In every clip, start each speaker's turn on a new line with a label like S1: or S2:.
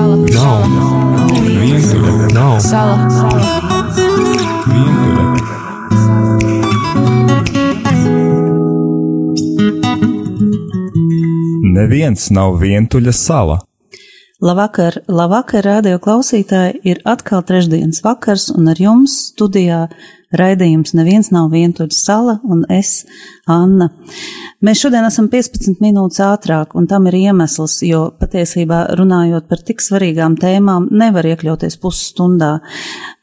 S1: nav. Vientuļa nav.
S2: Sala.
S1: Vientuļa.
S3: Neviens nav vientuļa sala.
S4: Labvakar, labvakar, radio klausītāji! Ir atkal trešdienas vakars, un ar jums studijā raidījums Neviens nav vientuļš sala, un es, Anna. Mēs šodien esam 15 minūtes ātrāk, un tam ir iemesls, jo patiesībā runājot par tik svarīgām tēmām, nevar iekļauties pusstundā.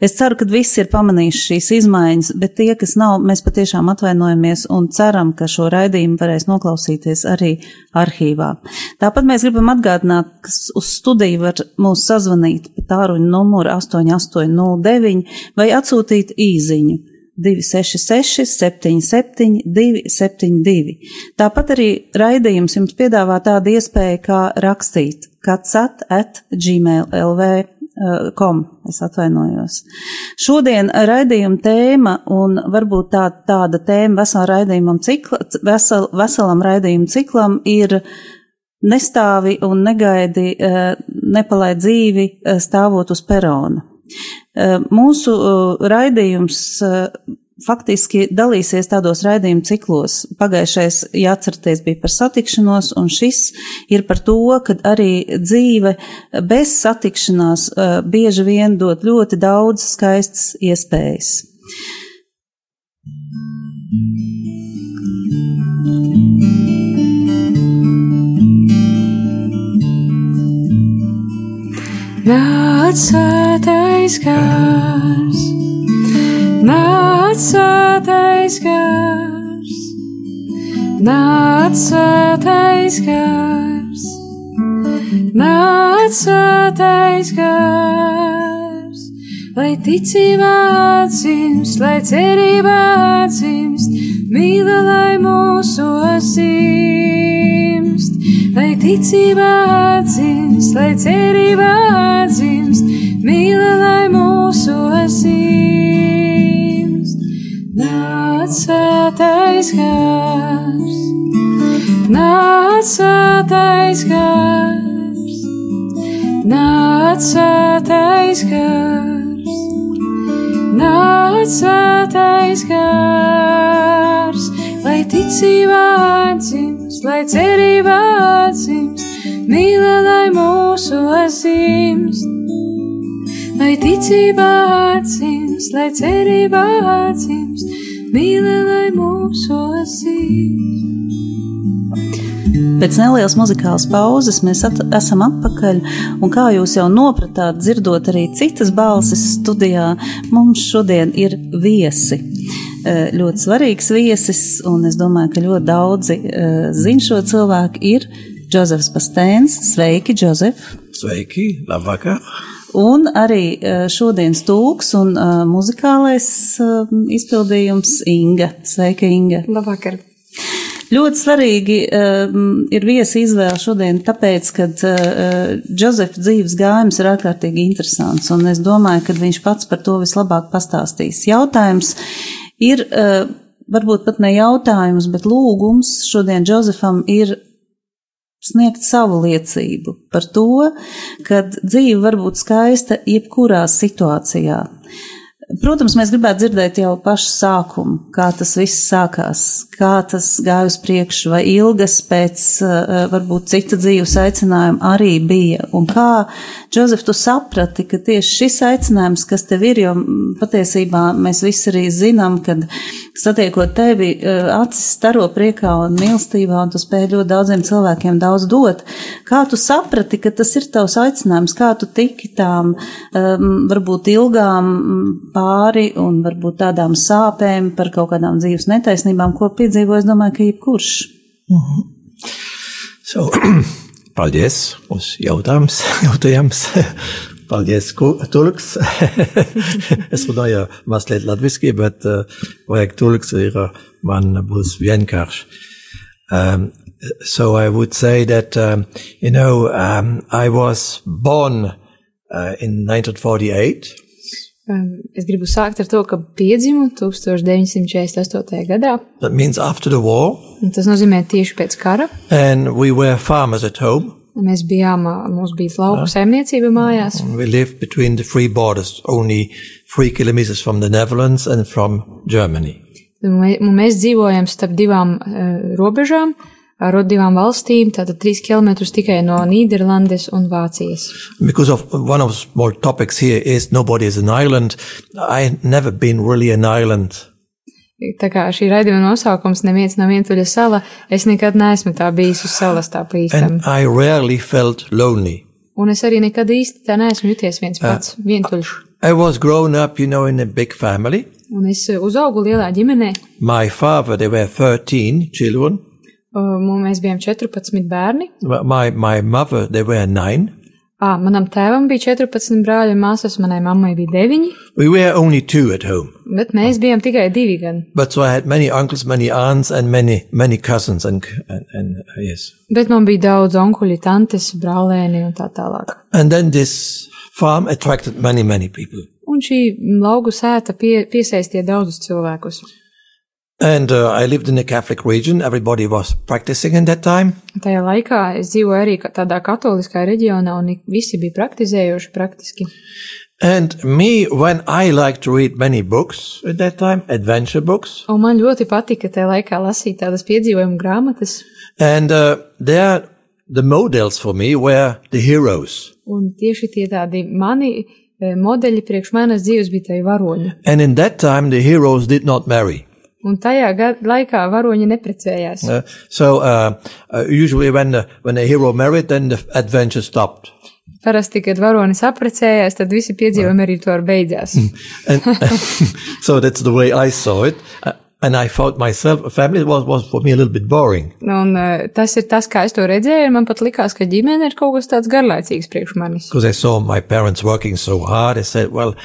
S4: Es ceru, ka visi ir pamanījuši šīs izmaiņas, bet tie, kas nav, mēs patiešām atvainojamies un ceram, ka šo raidījumu varēs noklausīties arī arhīvā. Tāpat mēs gribam atgādināt, ka s- uz studiju var mūs sazvanīt pa tāruņa numuru 8809 vai atsūtīt īziņu. 266, 77, 272. Tāpat arī raidījums jums piedāvā tādu iespēju, kā rakstīt kacat at gmail.lv Eh, kom, es atvainojos. Šodien raidījuma tēma un varbūt tā, tāda tēma veselam raidījumam cikla, vesel, veselam raidījuma ciklam ir nestāvi un negaidi, eh, nepalaid dzīvi eh, stāvot uz perona. Eh, Mūsu eh, raidījums eh, faktiski dalīsies tādos raidījuma ciklos. Pagājušais, ja atceraties, bija par satikšanos, un šis ir par to, ka arī dzīve bez satikšanās eh, bieži vien dod ļoti daudz skaistas iespējas.
S2: Nāc svētais gars, nāc svētais gars, nāc svētais gars, nāc svētais gars, lai ticībā atzīmst, lai cerībā atzīmst, mīla, lai mūsu atzīmst, lai ticībā atzīmst, lai cerībā atzīmst, mīla, lai mūsu atzīmst. Nāc svētais gars, nāc svētais gars, nāc svētais gars, nāc svētais gars, lai ticībā atzīmst, lai cerībā atzīmst, mīla, lai mūsu atzīmst. Lai ticībā atzīmst, lai cerībā atzīmst, mīla, lai mūsu atzīmst.
S4: Pēc nelielas muzikālas pauzes mēs at esam atpakaļ, un kā jūs jau nopratāt, dzirdot arī citas balsis studijā, mums šodien ir viesi. Eh, Ļoti svarīgs viesis, un es domāju, ka ļoti daudzi eh, zin šo cilvēku, ir Džozefs Pastēns. Sveiki, Džozef!
S5: Sveiki, labvakar.
S4: Un arī eh, šodienas tūks un eh, muzikālais eh, izpildījums Inga. Sveika, Inga!
S6: Labvakar.
S4: Ļoti svarīgi um, ir viesa izvēle šodien, tāpēc, ka uh, Džozefa dzīves gājums ir ārkārtīgi interesants, un es domāju, ka viņš pats par to vislabāk pastāstīs. Jautājums ir, uh, varbūt pat ne jautājums, bet lūgums šodien Džozefam ir sniegt savu liecību par to, ka dzīve var būt skaista jebkurā situācijā. Protams, mēs gribētu dzirdēt jau pašu sākumu, kā tas viss sākās, kā tas gāja uz priekšu, vai ilgas pēc eh, varbūt cita dzīves aicinājuma arī bija. Un kā, Džozef, tu saprati, ka tieši šis aicinājums, kas tev ir, jo mm, patiesībā mēs visi arī zinām, kad satiekot tevi, eh, acis staro priekā un mīlestībā, un tu spēj ļoti daudziem cilvēkiem daudz dot. Kā tu saprati, ka tas ir tavs aicinājums, kā tu tiki tām um, varbūt ilgām mm, pāri un varbūt tādām sāpēm par kaut kādām dzīves netaisnībām, ko piedzīvo, es domāju, ka jebkurš.
S5: So, paldies. Uz jautājums. jautājums. Paldies, ku- Tulks. es runāju mazliet latviski, bet uh, vajag Tulks, ir uh, man būs vienkārši. Um, so I would say that, um, you know, um, I was born uh, in 1948.
S6: Um,
S2: Ehm,
S6: Es gribu sākt ar to, ka piedzimu 1948. gadā.
S5: That means after the war.
S6: un Tas nozīmē tieši pēc kara.
S5: And we were farmers at home.
S2: Mēs bijām, ā, mums bija lauku saimniecība mājās.
S5: We live between the three borders, only three kilometers from the Netherlands and from Germany.
S2: Un mē- un mēs dzīvojam starp divām eh, robežām, ar divām valstīm, tātad trīs kilometrus tikai no Nīderlandes un Vācijas.
S5: Because of one of the small topics here is nobody is an island. I never been really an island.
S2: Tā kā šī raidījuma nosaukums neviens nav vientuļa sala, es nekad neesmu tā bijis uz salas tā pa īstam.
S5: And I rarely felt lonely.
S2: Un es arī nekad īsti tā neesmu juties viens pats, vientuļš.
S5: I was grown up, you know, in a big family.
S2: Un es eh, uzaugu lielā ģimenē,
S5: My father, there were 13 children.
S2: um, un mēs bijām 14 bērni.
S5: My, my mother, there were nine.
S2: À, manam tēvam bija 14 brāļi un māsas, manai mammai bija 9,
S5: We were only two at home.
S2: bet mēs bijām tikai divi gan.
S5: But so I had many uncles, many aunts, and many many cousins, and and, and uh, yes.
S2: Bet man bija daudz onkuļi, tantes, brālēni un tā tālāk.
S5: And then this farm attracted many many people,
S2: Un šī laugu sēta pie, piesaistīja daudzus cilvēkus.
S5: and uh, I lived in a Catholic region. Everybody was practicing in that time,
S2: Tajā laikā es dzīvoju arī ka- tādā katoliskā reģionā, un ik- visi bija praktizējuši praktiski.
S5: and me when I liked to read many books at that time, adventure books,
S2: Un man ļoti patika tajā laikā lasīt tādas piedzīvojumu grāmatas,
S5: and uh, there the models for me were the heroes,
S2: un tieši tie tādi mani eh, modeļi priekš manas dzīves bija tie varoņi.
S5: and in that time the heroes did not marry.
S2: Un tajā ga- laikā varoņi neprecējās.
S5: Uh, so uh, uh, usually when the, when a hero married, then the adventure stopped.
S2: Parasti, kad varonis apprecējās, tad visi piedzīvojumi arī to ar beidzās.
S5: And so that's the way I saw it. Uh, and I found myself, a family was, was for me a little bit boring.
S2: Un, eh, tas ir tas, kā es to redzēju. un Man pat likās, ka ģimene ir kaut kas tāds garlaicīgs priekš manis.
S5: Because I saw my parents working so hard. I said, well,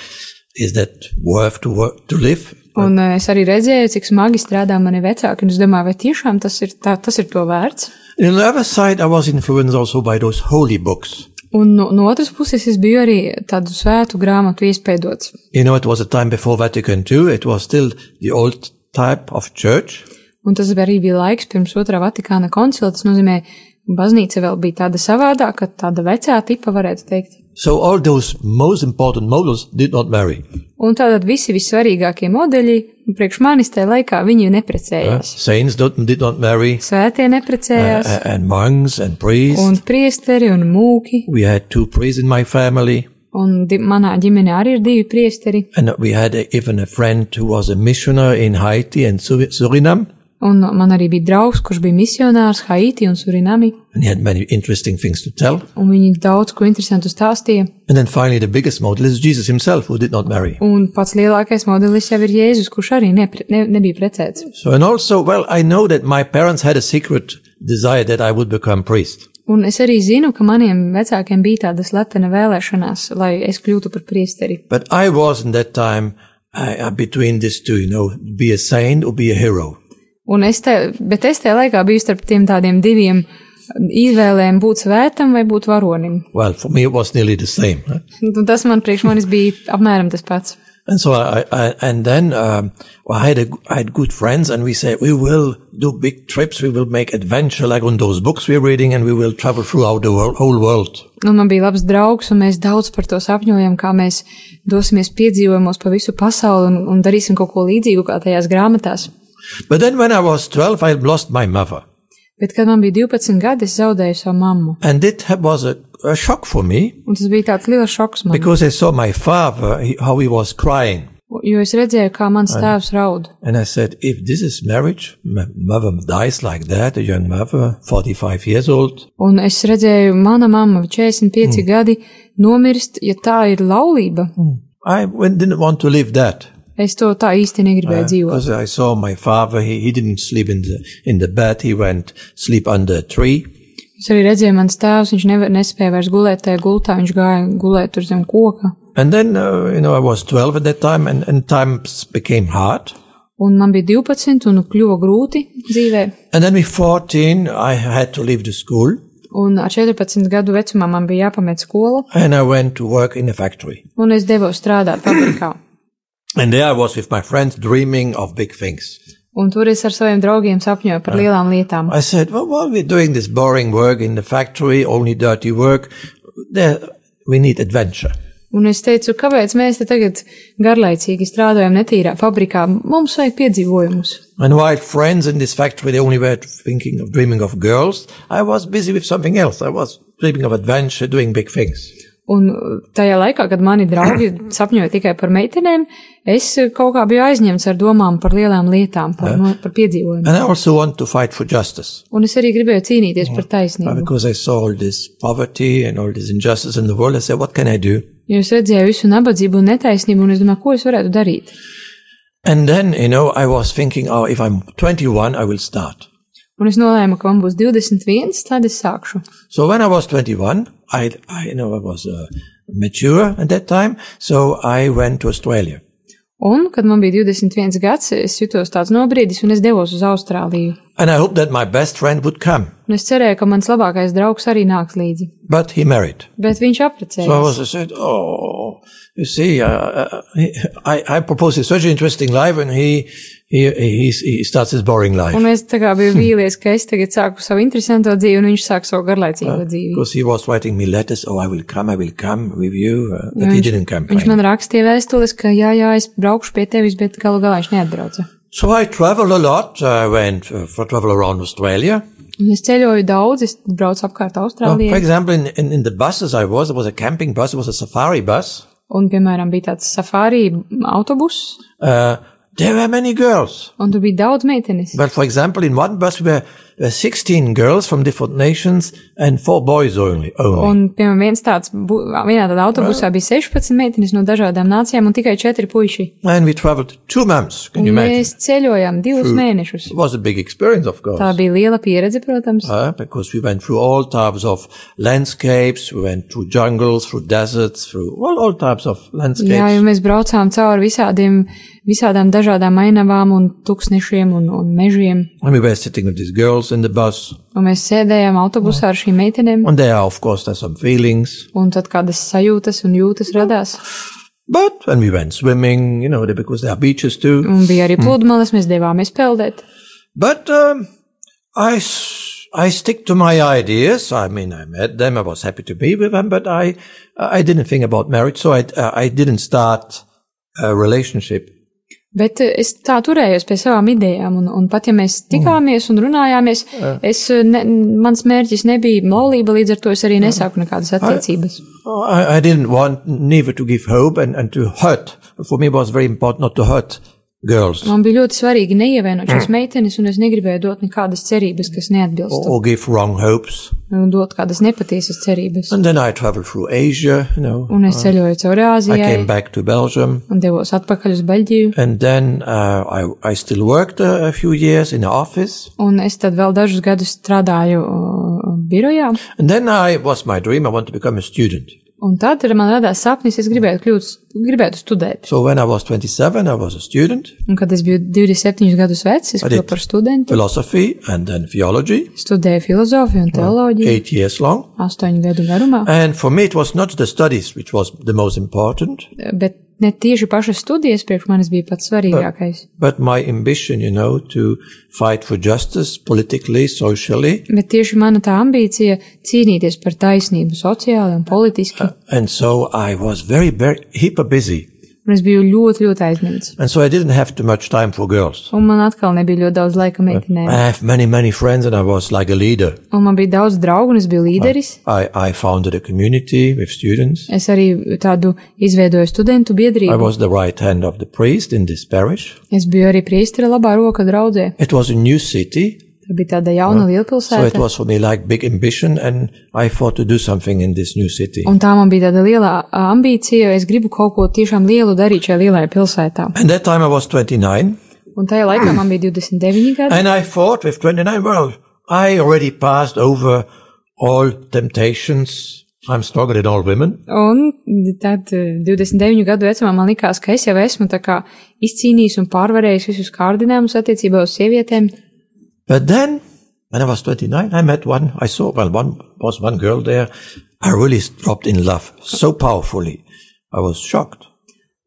S5: is that worth to work, to live?
S2: Un eh, es arī redzēju, cik smagi strādā mani vecāki. un Es domāju, vai tiešām tas ir, tā, tas ir to vērts.
S5: And on the other side, I was influenced also by those holy books.
S2: Un no, no otras puses, es biju arī tādu svētu grāmatu iespaidots.
S5: You know, it was a time before Vatican II. It was still the old type of church.
S2: Un tas arī bija laiks pirms otrā Vatikāna koncila. Tas nozīmē, ka baznīca vēl bija tāda savādāka, tāda vecā tipa, varētu teikt.
S5: So all those most important models did not marry.
S2: Un tātad visi vissvarīgākie modeļi un priekš manis tajā laikā viņi neprecējās.
S5: Uh, Saints don't, did not marry.
S2: Svētie neprecējās.
S5: A- and monks and priests.
S2: un priesteri un mūki.
S5: We had two priests in my family,
S2: Un di manā ģimenē arī ir divi priesteri.
S5: and we had a, even a friend who was a missioner in Haiti and Suri- Suriname,
S2: Un man arī bija draugs, kurš bija misionārs Haiti un Surinami.
S5: and he had many interesting things to tell.
S2: Un viņi daudz ko interesantu stāstīja.
S5: And then finally, the biggest model is Jesus himself, who did not marry.
S2: Un pats lielākais modelis jau ir Jēzus, kurš arī nepre, ne, nebija precēts.
S5: So, and also, well, I know that my parents had a secret desire that I would become priest.
S2: Un es arī zinu, ka maniem vecākiem bija tāda slepena vēlēšanās, lai es kļūtu par priesteri.
S5: But I was in that time I, I between these two, you know, be a saint or be a hero.
S2: Un es te, bet es tajā laikā biju starp tiem tādiem diviem izvēlēm būt svētam vai būt varonim.
S5: Well, for me, it was nearly the same. huh?
S2: Un tas man priekš manis bija apmēram tas pats.
S5: And so I, I and then um, well, I had a, I had good friends, and we said we will do big trips. We will make adventure like on those books we're reading, and we will travel throughout the world, whole world.
S2: Un Nu, man bija labs draugs, un mēs daudz par to sapņojam, kā mēs dosimies piedzīvojumos pa visu pasauli un, un darīsim kaut ko līdzīgu kā tajās grāmatās.
S5: But then when I was twelve, I had lost my mother,
S2: Bet, kad man bija 12 gadi, es zaudēju savu mammu.
S5: and it ha- was a, a shock for me
S2: Un tas bija tāds liels šoks man,
S5: because I saw my father he, how he was crying,
S2: jo es redzēju, kā mans tēvs raud.
S5: and I said, if this is marriage, my mother dies like that, a young mother, forty-five years old.
S2: Un es redzēju, mana mamma, 45 mm. gadi, nomirst, ja tā ir laulība. Mm.
S5: I went- didn't want to live that.
S2: Es to tā īsti negribēju uh, dzīvot.
S5: Because I saw my father, he, he didn't sleep in the in the bed. He went sleep under a tree,
S2: Es arī redzēju, mans tēvs, viņš nevar, nespēja vairs gulēt tajā gultā, viņš gāja gulēt tur zem koka.
S5: and then uh, you know I was twelve at that time, and and times became hard.
S2: Un man bija 12, un kļuva grūti dzīvē.
S5: And then with fourteen, I had to leave the school,
S2: Un ar 14 gadu vecumā man bija jāpamet skola,
S5: and I went to work in a factory.
S2: un es devos strādāt fabrikā.
S5: And there I was with my friends, dreaming of big things.
S2: Un tur es ar saviem draugiem sapņoju par lielām lietām.
S5: I said, well, while we're doing this boring work in the factory, only dirty work, there, we need adventure.
S2: Un es teicu, kāpēc mēs te tagad garlaicīgi strādājam netīrā fabrikā? Mums vajag piedzīvojumus.
S5: And while friends in this factory, they only were thinking of dreaming of girls, I was busy with something else. I was dreaming of adventure, doing big things.
S2: Un uh, tajā laikā, kad mani draugi sapņoja tikai par meitenēm, es uh, kaut kā biju aizņemts ar domām par lielām lietām, par, no, par piedzīvojumiem.
S5: And I also want to fight for justice
S2: Un es arī gribēju cīnīties par
S5: uh,
S2: taisnību.
S5: because I saw all this poverty and all this injustice in the world. I said, what can I do?
S2: Jo es redzēju visu nabadzību un netaisnību, un es domāju, ko es varētu darīt.
S5: And then, you know, I was thinking, oh, if I'm 21, I will start.
S2: Un es nolēmu, ka man būs 21, tad es sākšu.
S5: So when I was 21, I, I you know, I was uh, mature at that time. So I went to Australia.
S2: Un, kad man bija 21 gads, es jutos tāds nobriedis, un es devos uz Austrāliju.
S5: And I hoped that my best friend would come,
S2: Un es cerēju, ka mans labākais draugs arī nāks līdzi.
S5: but he married.
S2: Bet viņš
S5: So I
S2: apprecējās.
S5: was, I said, oh, you see, uh, uh, I, I propose this such an interesting life and he, he, he, he starts his boring life
S2: Un es tā kā biju vīlies, ka es tagad sāku savu interesanto dzīvi, un viņš sāk savu garlaicīgo dzīvi.
S5: because he was writing me letters. Oh, I will come. I will come with you. Uh, but he didn't come.
S2: Viņš man rakstīja vēstules, ka jā, jā, es braukšu pie tevis, bet galu galā viņš neatbrauca.
S5: So I traveled a lot. I went uh, for travel around Australia.
S2: Un es ceļoju daudz, es braucu apkārt
S5: Uh, for
S2: Austrālijai.
S5: example, in, in, in the buses I was, there was a camping bus, there was a safari bus.
S2: Un, piemēram, bija tāds safari autobus,
S5: Uh, there were many girls.
S2: un tur bija daudz meitenes.
S5: But for example, in one bus we were, there were 16 girls from different nations and four boys only. only.
S2: Un, piemēram, viens tāds, bu- vienā tādā autobusā bija 16 meitenes no dažādām nācijām un tikai 4 puiši.
S5: And we traveled two months. Can
S2: Un
S5: you imagine?
S2: mēs ceļojām divus mēnešus.
S5: It was a big experience, of course.
S2: Tā bija liela pieredze, protams.
S5: Uh, because we went through all types of landscapes, we went through jungles, through deserts, through all, all types of landscapes.
S2: Jā, jo mēs braucām cauri visādiem, visādām dažādām ainavām un tūkstnešiem un, un mežiem.
S5: And we were sitting with these girls in the bus.
S2: Un mēs sēdējām autobusā ar šīm meitenēm.
S5: And there are, of course, there's some feelings.
S2: Un tad kādas sajūtas un jūtas radās.
S5: But when we went swimming, you know, there- because there are beaches too.
S2: Un bija arī pludmales, mēs devāmies peldēt.
S5: But um, I, s- I stick to my ideas. I mean, I met them. I was happy to be with them, but I, I didn't think about marriage, so I, uh, I didn't start a relationship.
S2: Bet eh, es tā turējos pie savām idejām, un, un pat ja mēs tikāmies un runājāmies, es, eh, ne, mans mērķis nebija laulība, līdz ar to es arī nesāku nekādas attiecības.
S5: I, I didn't want neither to give hope and, and to hurt. For me, it was very important not to hurt girls or,
S2: Man bija ļoti svarīgi neievainot šīs meitenes, un es negribēju dot nekādas cerības, kas neatbilst,
S5: or give wrong hopes.
S2: un dot kādas nepatiesas cerības.
S5: And then I traveled through Asia, you know.
S2: Un es ceļoju cauri
S5: I came
S2: Āzijai
S5: back to Belgium.
S2: un devos atpakaļ uz Beļģiju,
S5: And then uh, I, I still worked a, a few years in the office.
S2: un es tad vēl dažus gadus strādāju eh, birojā,
S5: And then I was my dream. I want to become a student.
S2: un tad man radās sapnis, es gribētu kļūt, gribētu studēt.
S5: So when I was 27, I was a student,
S2: Un, kad es biju 27 gadus vecs, es kļuvu
S5: Arī-
S2: par studentu.
S5: philosophy and then theology,
S2: Studēju filozofiju un teoloģiju
S5: eight years long.
S2: astoņu gadu garumā,
S5: And for me, it was not the studies which was the most important,
S2: bet ne tieši pašas studijas priekš manis bija pats svarīgākais.
S5: but my ambition, you know, to fight for justice politically, socially.
S2: Bet tieši mana tā ambīcija cīnīties par taisnību sociāli un politiski,
S5: And so I was very, very hyper busy.
S2: un es biju ļoti, ļoti aizņemts.
S5: And so I didn't have too much time for girls.
S2: Un man atkal nebija ļoti daudz laika
S5: I
S2: meitenēm.
S5: have many, many friends and I was like a leader.
S2: Un man bija daudz draugu, un es biju līderis.
S5: I, I founded a community with students.
S2: Es arī tādu izveidoju studentu
S5: I
S2: biedrību.
S5: was the right hand of the priest in this parish.
S2: Es biju arī priestera labā roka draudzē.
S5: It was a new city
S2: Tā bija tāda jauna
S5: So it
S2: lielpilsēta.
S5: was for me like big ambition, and I thought to do something in this new city.
S2: Un tā man bija tāda liela ā, ambīcija, es gribu kaut ko tiešām lielu darīt šajā lielajā pilsētā.
S5: And that time I was 29,
S2: Un tajā laikā man bija 29 gadi,
S5: and I thought with 29, well, I already passed over all temptations. I'm stronger than all women.
S2: un tad eh, 29 gadu vecumā man likās, ka es jau esmu tā kā izcīnījis un pārvarējis visus kārdinājumus attiecībā uz sievietēm.
S5: But then, when I was 29, I met one, I saw, well, one was one girl there. I really dropped in love so powerfully. I was shocked.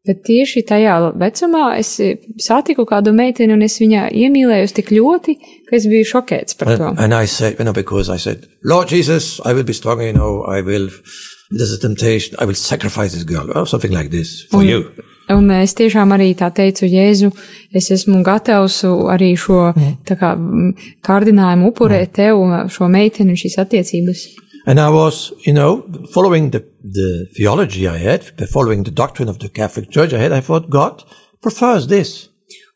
S2: Bet tieši tajā vecumā es satiku kādu meiteni, un es viņā iemīlējos tik ļoti, ka es biju šokēts par to.
S5: And, and I said, you know, because I said, Lord Jesus, I will be strong, you know, I will, there's a temptation, I will sacrifice this girl, or something like this,
S2: Mm.
S5: for you.
S2: Un es tiešām arī tā teicu, Jēzu, es esmu gatavs arī šo tā kā mm, kārdinājumu upurēt tev, šo meiteni un šīs attiecības.
S5: And I was, you know, following the, the theology I had, the- following the doctrine of the Catholic Church I had, I thought God prefers this.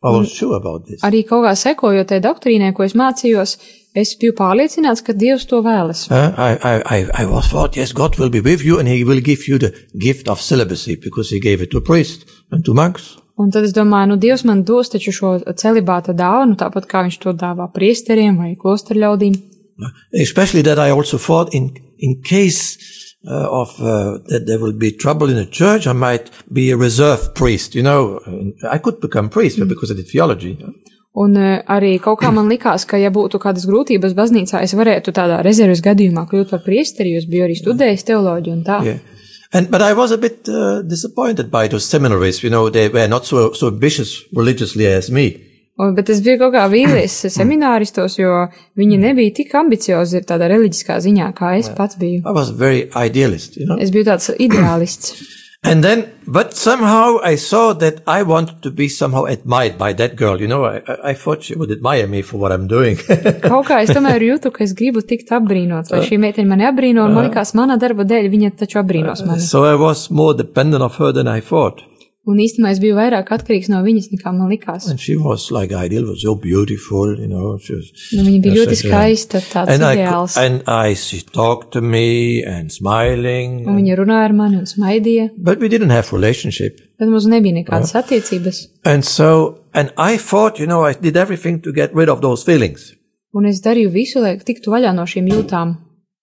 S5: I was sure about this.
S2: Arī kaut kā sekojot tai doktrīnai, ko es mācījos, es biju pārliecināts, ka Dievs to vēlas.
S5: Uh, I, I, I, I was thought, yes, God will be with you and he will give you the gift of celibacy because he gave it to priests and to monks.
S2: Un tad es domāju, nu, Dievs man dos taču šo celibāta dāvanu, tāpat kā viņš to dāvā priesteriem vai klosteru ļaudīm.
S5: Especially that I also thought in, in case uh, of uh, that there will be trouble in the church, I might be a reserve priest. You know, I could become priest but because I did theology.
S2: Un eh, arī kaut kā man likās, ka, ja būtu kādas grūtības baznīcā, es varētu tādā rezerves gadījumā kļūt par priesteri, jo es biju arī studējis teoloģiju un tā.
S5: Yeah. And, but I was a bit uh, disappointed by those seminarists. You know, they were not so, so ambitious religiously as me.
S2: Un, bet es biju kaut kā vīlies semināristos, jo viņi nebija tik ambiciozi tādā reliģiskā ziņā, kā es pats biju.
S5: I was very idealist, you know.
S2: Es biju tāds ideālists.
S5: And then, but somehow I saw that I wanted to be somehow admired by that girl. You know, I, I- I thought she would admire me for what I'm doing.
S2: Kaut kā es tomēr jūtu, ka es gribu tikt apbrīnots, lai šī meitene mani apbrīno, un man likās, mana darba dēļ viņa taču apbrīnos mani.
S5: Uh, so I was more dependent of her than I thought.
S2: Un īstenībā es biju vairāk atkarīgs no viņas, nekā man likās.
S5: And she was like ideal, was so beautiful, you know. She was,
S2: Nu, viņa bija ļoti
S5: Yes, I-
S2: skaista, tāds
S5: and I,
S2: ideāls.
S5: cou- and I, she talked to me and smiling.
S2: Un viņa runāja ar mani un smaidīja,
S5: but we didn't have relationship.
S2: bet mums nebija nekādas attiecības.
S5: And so, and I thought, you know, I did everything to get rid of those feelings.
S2: Un es darīju visu, lai tiktu vaļā no šīm jūtām,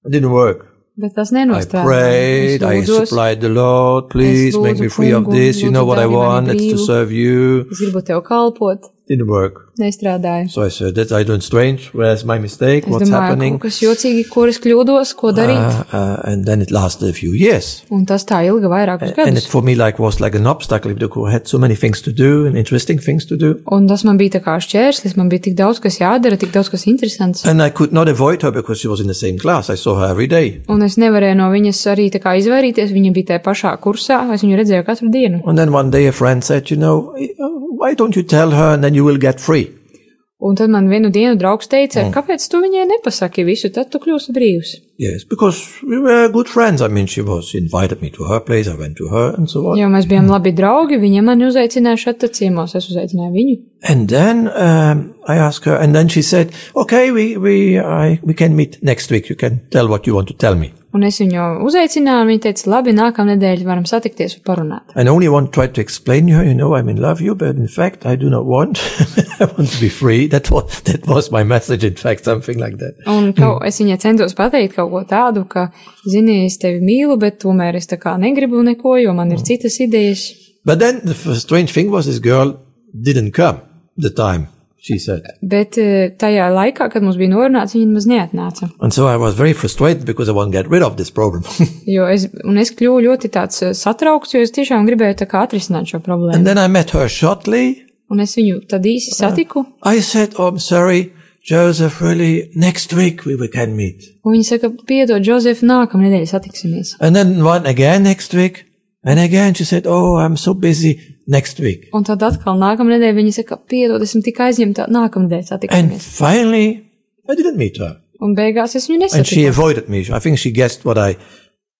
S5: It didn't work.
S2: bet tas
S5: I
S2: nenostrādāja. Es
S5: prayed, I
S2: lūdzos,
S5: supplied the Lord, please make me free of this. You know what I want, it's to serve you.
S2: es gribu tev kalpot,
S5: Didn't work.
S2: nestrādāju.
S5: So I said, that I don't strange. Where's my mistake?
S2: Es
S5: What's
S2: domāju,
S5: happening?
S2: kaut kas jocīgi, kur es kļūdos, ko darīt.
S5: Uh, uh, and then it lasted a few years.
S2: Un tas tā ilga vairākus
S5: And it
S2: gadus.
S5: for me like was like an obstacle because I had so many things to do and interesting things to do.
S2: Un tas man bija tā kā šķērslis, man bija tik daudz, kas jādara, tik daudz, kas interesants.
S5: And I could not avoid her because she was in the same class. I saw her every day.
S2: Un es nevarēju no viņas arī tā kā izvairīties, viņa bija tajā pašā kursā, es viņu redzēju katru dienu.
S5: And then one day a friend said, you know, eh, uh, why don't you tell her and then you will get free?
S2: Un tad man vienu dienu draugs
S5: Mm.
S2: teica, kāpēc tu viņai nepasaki visu, tad tu kļūsi brīvs.
S5: Yes, because we were good friends. I mean, she was she invited me to her place. I went to her and so on.
S2: Jo mēs bijām labi draugi, viņa mani uzaicināja šeit te ciemos, es uzaicināju viņu.
S5: And then um, I asked her, and then she said, "Okay, we we I, we can meet next week. You can tell what you want to tell me."
S2: Un es viņu uzaicināju, un viņa teica, labi, nākamā nedēļa varam satikties un parunāt.
S5: And only one tried to explain to her, you know, I'm in love with you, but in fact, I do not want. I want to be free. That was that was my message. In fact, something like that.
S2: Un kaut,
S5: Hmm.
S2: es viņai centos pateikt kaut ko tādu, ka, zini, es tevi mīlu, bet tomēr es tā kā negribu neko, jo man ir
S5: Hmm.
S2: citas idejas.
S5: But then the f- strange thing was, this girl didn't come the time she said.
S2: Bet eh, tajā laikā, kad mums bija norunāts, viņa maz neatnāca.
S5: And so I was very frustrated because I want to get rid of this problem.
S2: Jo es, un es kļuvu ļoti tāds eh, satraukts, jo es tiešām gribēju tā kā atrisināt šo
S5: and
S2: problēmu.
S5: then Ah. I met her shortly.
S2: Un es viņu tad īsi satiku,
S5: I said, oh, I'm sorry, Joseph, really, next week we we can meet.
S2: un viņa saka, piedod, Džozef, nākamā nedēļa satiksimies.
S5: And then one again next week. And again she said, oh, I'm so busy next week.
S2: Un tad atkal nākamā nedēļa viņa saka, piedod, esmu tik aizņemta, nākamā nedēļa
S5: And
S2: satiksimies.
S5: finally, I didn't meet her.
S2: Un beigās es viņu
S5: And she
S2: nesatiku.
S5: avoided me. I think she guessed what I,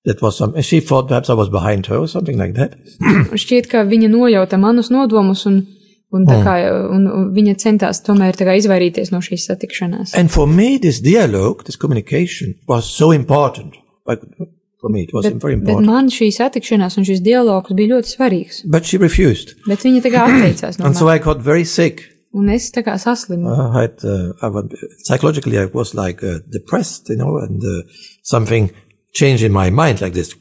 S5: that was some, she thought perhaps I was behind her or something like that.
S2: Un šķiet, ka viņa nojauta manus nodomus un, un,
S5: Mm.
S2: tā kā, un un viņa centās tomēr tā kā izvairīties no šīs satikšanās.
S5: And for me, this dialogue, this communication was so important. Like, for me, it was very
S2: Bet
S5: important.
S2: man šī satikšanās un šis dialogs bija ļoti svarīgs.
S5: But she refused.
S2: Bet viņa tā kā atteicās no
S5: And so
S2: manis.
S5: I got very sick.
S2: Un es tā kā saslimu.
S5: I had, uh, I was, psychologically, I was like uh, depressed, you know, and uh, something changed in my mind like this.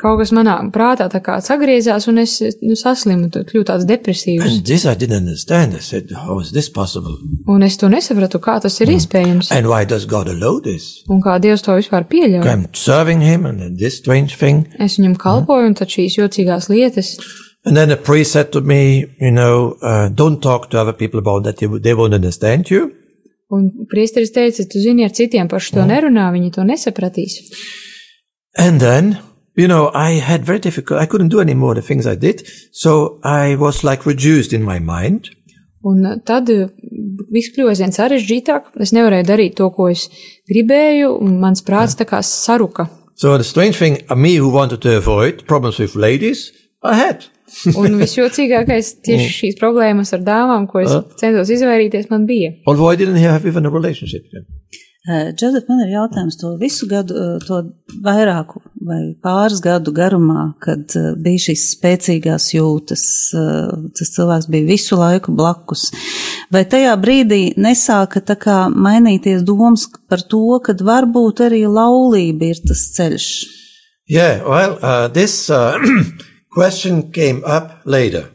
S2: Kaut kas manā prātā tā kā sagriezās, un es nu, saslimu, tad kļūtu tāds depresīvs.
S5: And this I didn't understand. I said, how is this possible?
S2: Un es to nesapratu, kā tas ir iespējams.
S5: Mm. And why does God allow this?
S2: Un kā Dievs to vispār pieļauj.
S5: I'm serving Him and then this strange thing.
S2: Es viņam kalpoju, un tad šīs jocīgās lietas.
S5: And then a priest said to me, you know, uh, don't talk to other people about that. They, w- they won't understand you.
S2: Un priesteris teica, tu zini, ar citiem par šo nerunā, viņi to nesapratīs.
S5: And then, you know, I had very difficult, I couldn't do any more of the things I did. So I was like reduced in my mind.
S2: Un eh, tad eh, viss kļuva aizvien sarežģītāk. Es nevarēju darīt to, ko es gribēju, un mans prāts tā kā saruka.
S5: So the strange thing, uh, me who wanted to avoid problems with ladies, I had.
S2: Un visjocīgākais tieši šīs problēmas ar dāmām, ko es centos izvairīties, man bija.
S5: Although I didn't have even a relationship then.
S4: Džozef, man ir jautājums to visu gadu, eh, to vairāku vai pāris gadu garumā, kad eh, bija šīs spēcīgās jūtas, eh, tas cilvēks bija visu laiku blakus. Vai tajā brīdī nesāka tā kā mainīties domas par to, ka varbūt arī laulība ir tas ceļš?
S5: Yeah, well, uh, this uh, question came up later.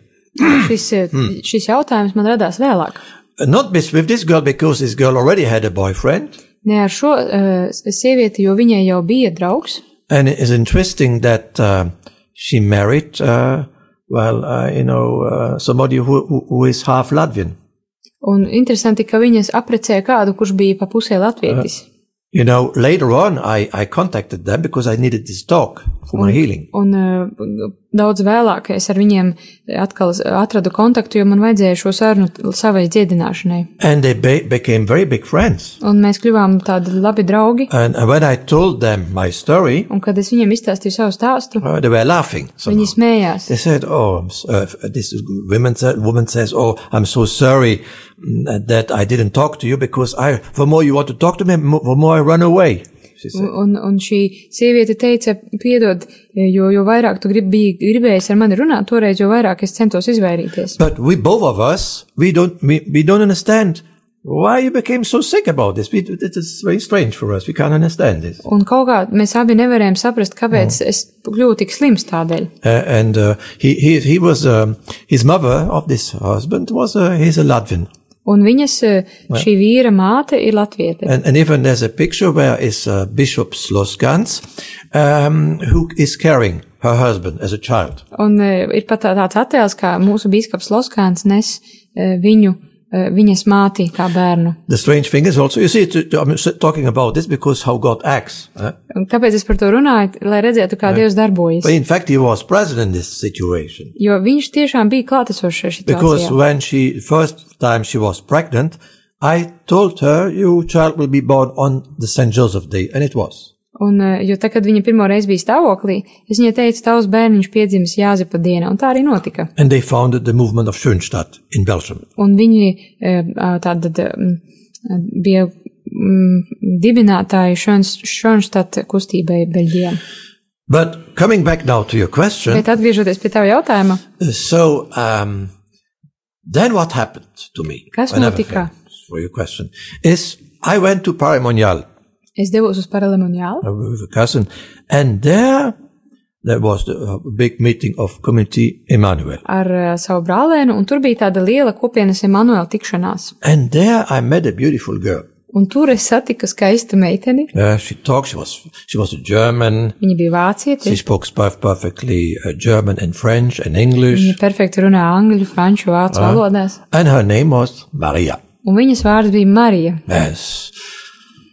S2: Šis, eh, šis jautājums man radās vēlāk.
S5: Uh, Not with, with this girl because this girl already had a boyfriend.
S2: Ne ar šo eh, sievieti, jo viņai jau bija draugs.
S5: And it is interesting that uh, she married, uh, well, uh, you know, uh, somebody who, who, who is half Latvian.
S2: Un interesanti, ka viņas aprecēja kādu, kurš bija pa pusē latvietis.
S5: You know, later on, I, I contacted them because I needed this talk for my healing.
S2: Un eh, daudz vēlāk es ar viņiem atkal s- atradu kontaktu, jo man vajadzēja šo sarunu t- savai dziedināšanai.
S5: And they be- became very big friends.
S2: Un mēs kļuvām tādi labi draugi.
S5: And uh, when I told them my story,
S2: Un kad es viņiem izstāstīju savu stāstu,
S5: uh, they were laughing. somehow.
S2: viņi smējās.
S5: They said, "Oh, I'm, s- uh, this is- woman said, woman says, oh, I'm so sorry mm, that I didn't talk to you because I, the more you want to talk to me, mo- the more I run away." She said.
S2: Un, un, un šī sieviete teica, piedod, e, jo, jo vairāk tu grib, biji gribējis ar mani runāt, toreiz jo vairāk es centos izvairīties.
S5: But we both of us, we don't, we, we don't understand why you became so sick about this. We, it is very strange for us. We can't understand this.
S2: Un kaut kā mēs abi nevarējām saprast, kāpēc mm. es kļuvu tik slims tādēļ.
S5: Uh, and uh, he, he, he was um, his mother of this husband was uh, he's a Latvian.
S2: Un viņas, eh, šī vīra māte ir latviete.
S5: And, and even there's a picture where is uh, Bishop Sloskans, um, who is carrying her husband as a child.
S2: Un eh, ir pat tā- tāds attēls, kā mūsu biskups Loskāns nes eh, viņu, eh, viņas māti kā bērnu.
S5: The strange thing is also, you see, t- t- I'm s- talking about this because how God acts. eh?
S2: Un kāpēc es par to runāju? Lai redzētu, kā Dievs darbojas.
S5: But in fact, he was present in this situation.
S2: Jo viņš tiešām bija klātesošs šajā
S5: Because
S2: situācijā.
S5: when she, first time she was pregnant, I told her, your child will be born on the St. Joseph Day. And it was.
S2: Un, eh, jo tad, kad viņa pirmo reizi bija stāvoklī, es viņai teicu, tavs bērniņš piedzimis Jāzepa dienā, un tā arī notika.
S5: And they founded the movement of Schönstadt in Belgium.
S2: Un viņi eh, ā, tātad mm, bija mm, dibinātāji Šonštata kustībai Beļģijā.
S5: But coming back now to your question.
S2: Bet atgriežoties pie tava jautājuma,
S5: So um, then what happened to me?
S2: Kas
S5: Another
S2: notika?
S5: thing For your question is I went to Parimonial
S2: es devos uz Paralemoniālu,
S5: uh, with a cousin, and there there was the uh, big meeting of Community Emmanuel,
S2: ar eh, savu brālēnu, un tur bija tāda liela kopienas Emanuela tikšanās.
S5: and there I met a beautiful girl.
S2: Un tur es satiku skaistu meiteni,
S5: Uh, she talked. She was she was a German.
S2: viņa bija vācieti,
S5: She spoke perf- perfectly uh, German and French and English,
S2: Viņa perfekti runā angļu, franču, vācu valodās.
S5: and her name was Maria.
S2: Un viņas vārds bija Marija.
S5: Yes.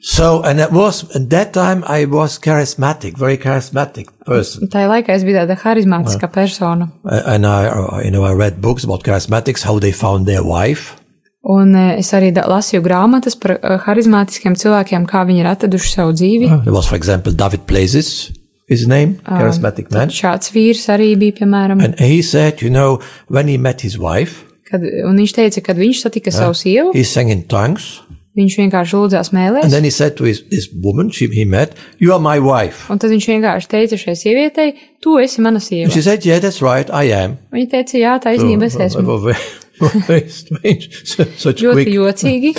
S5: So, and that was, at that time I was charismatic, very charismatic person.
S2: Un Tajā laikā es biju tāda harizmātiska persona.
S5: Uh, And I, uh, you know, I read books about charismatics, how they found their wife.
S2: Un eh, es arī da- lasīju grāmatas par eh, harizmātiskiem cilvēkiem, kā viņi ir atraduši savu dzīvi.
S5: There was, for example, David Plazes, his name, charismatic man.
S2: Šāds vīrs arī bija, piemēram,
S5: And he said, you know, when he met his wife,
S2: kad, un viņš teica, kad viņš satika savu sievu,
S5: he sang in tongues.
S2: viņš vienkārši lūdzās
S5: And
S2: mēlēs.
S5: then he said to his, this woman she, he met, you are my wife.
S2: Un tad viņš vienkārši teica šai sievietei, tu esi mana
S5: And she
S2: sieva.
S5: said, yeah, that's right, I am.
S2: Viņa teica, jā,
S5: Nu,
S2: taisnība es esmu.
S5: Very, very strange, such quick.
S2: Ļoti jocīgi.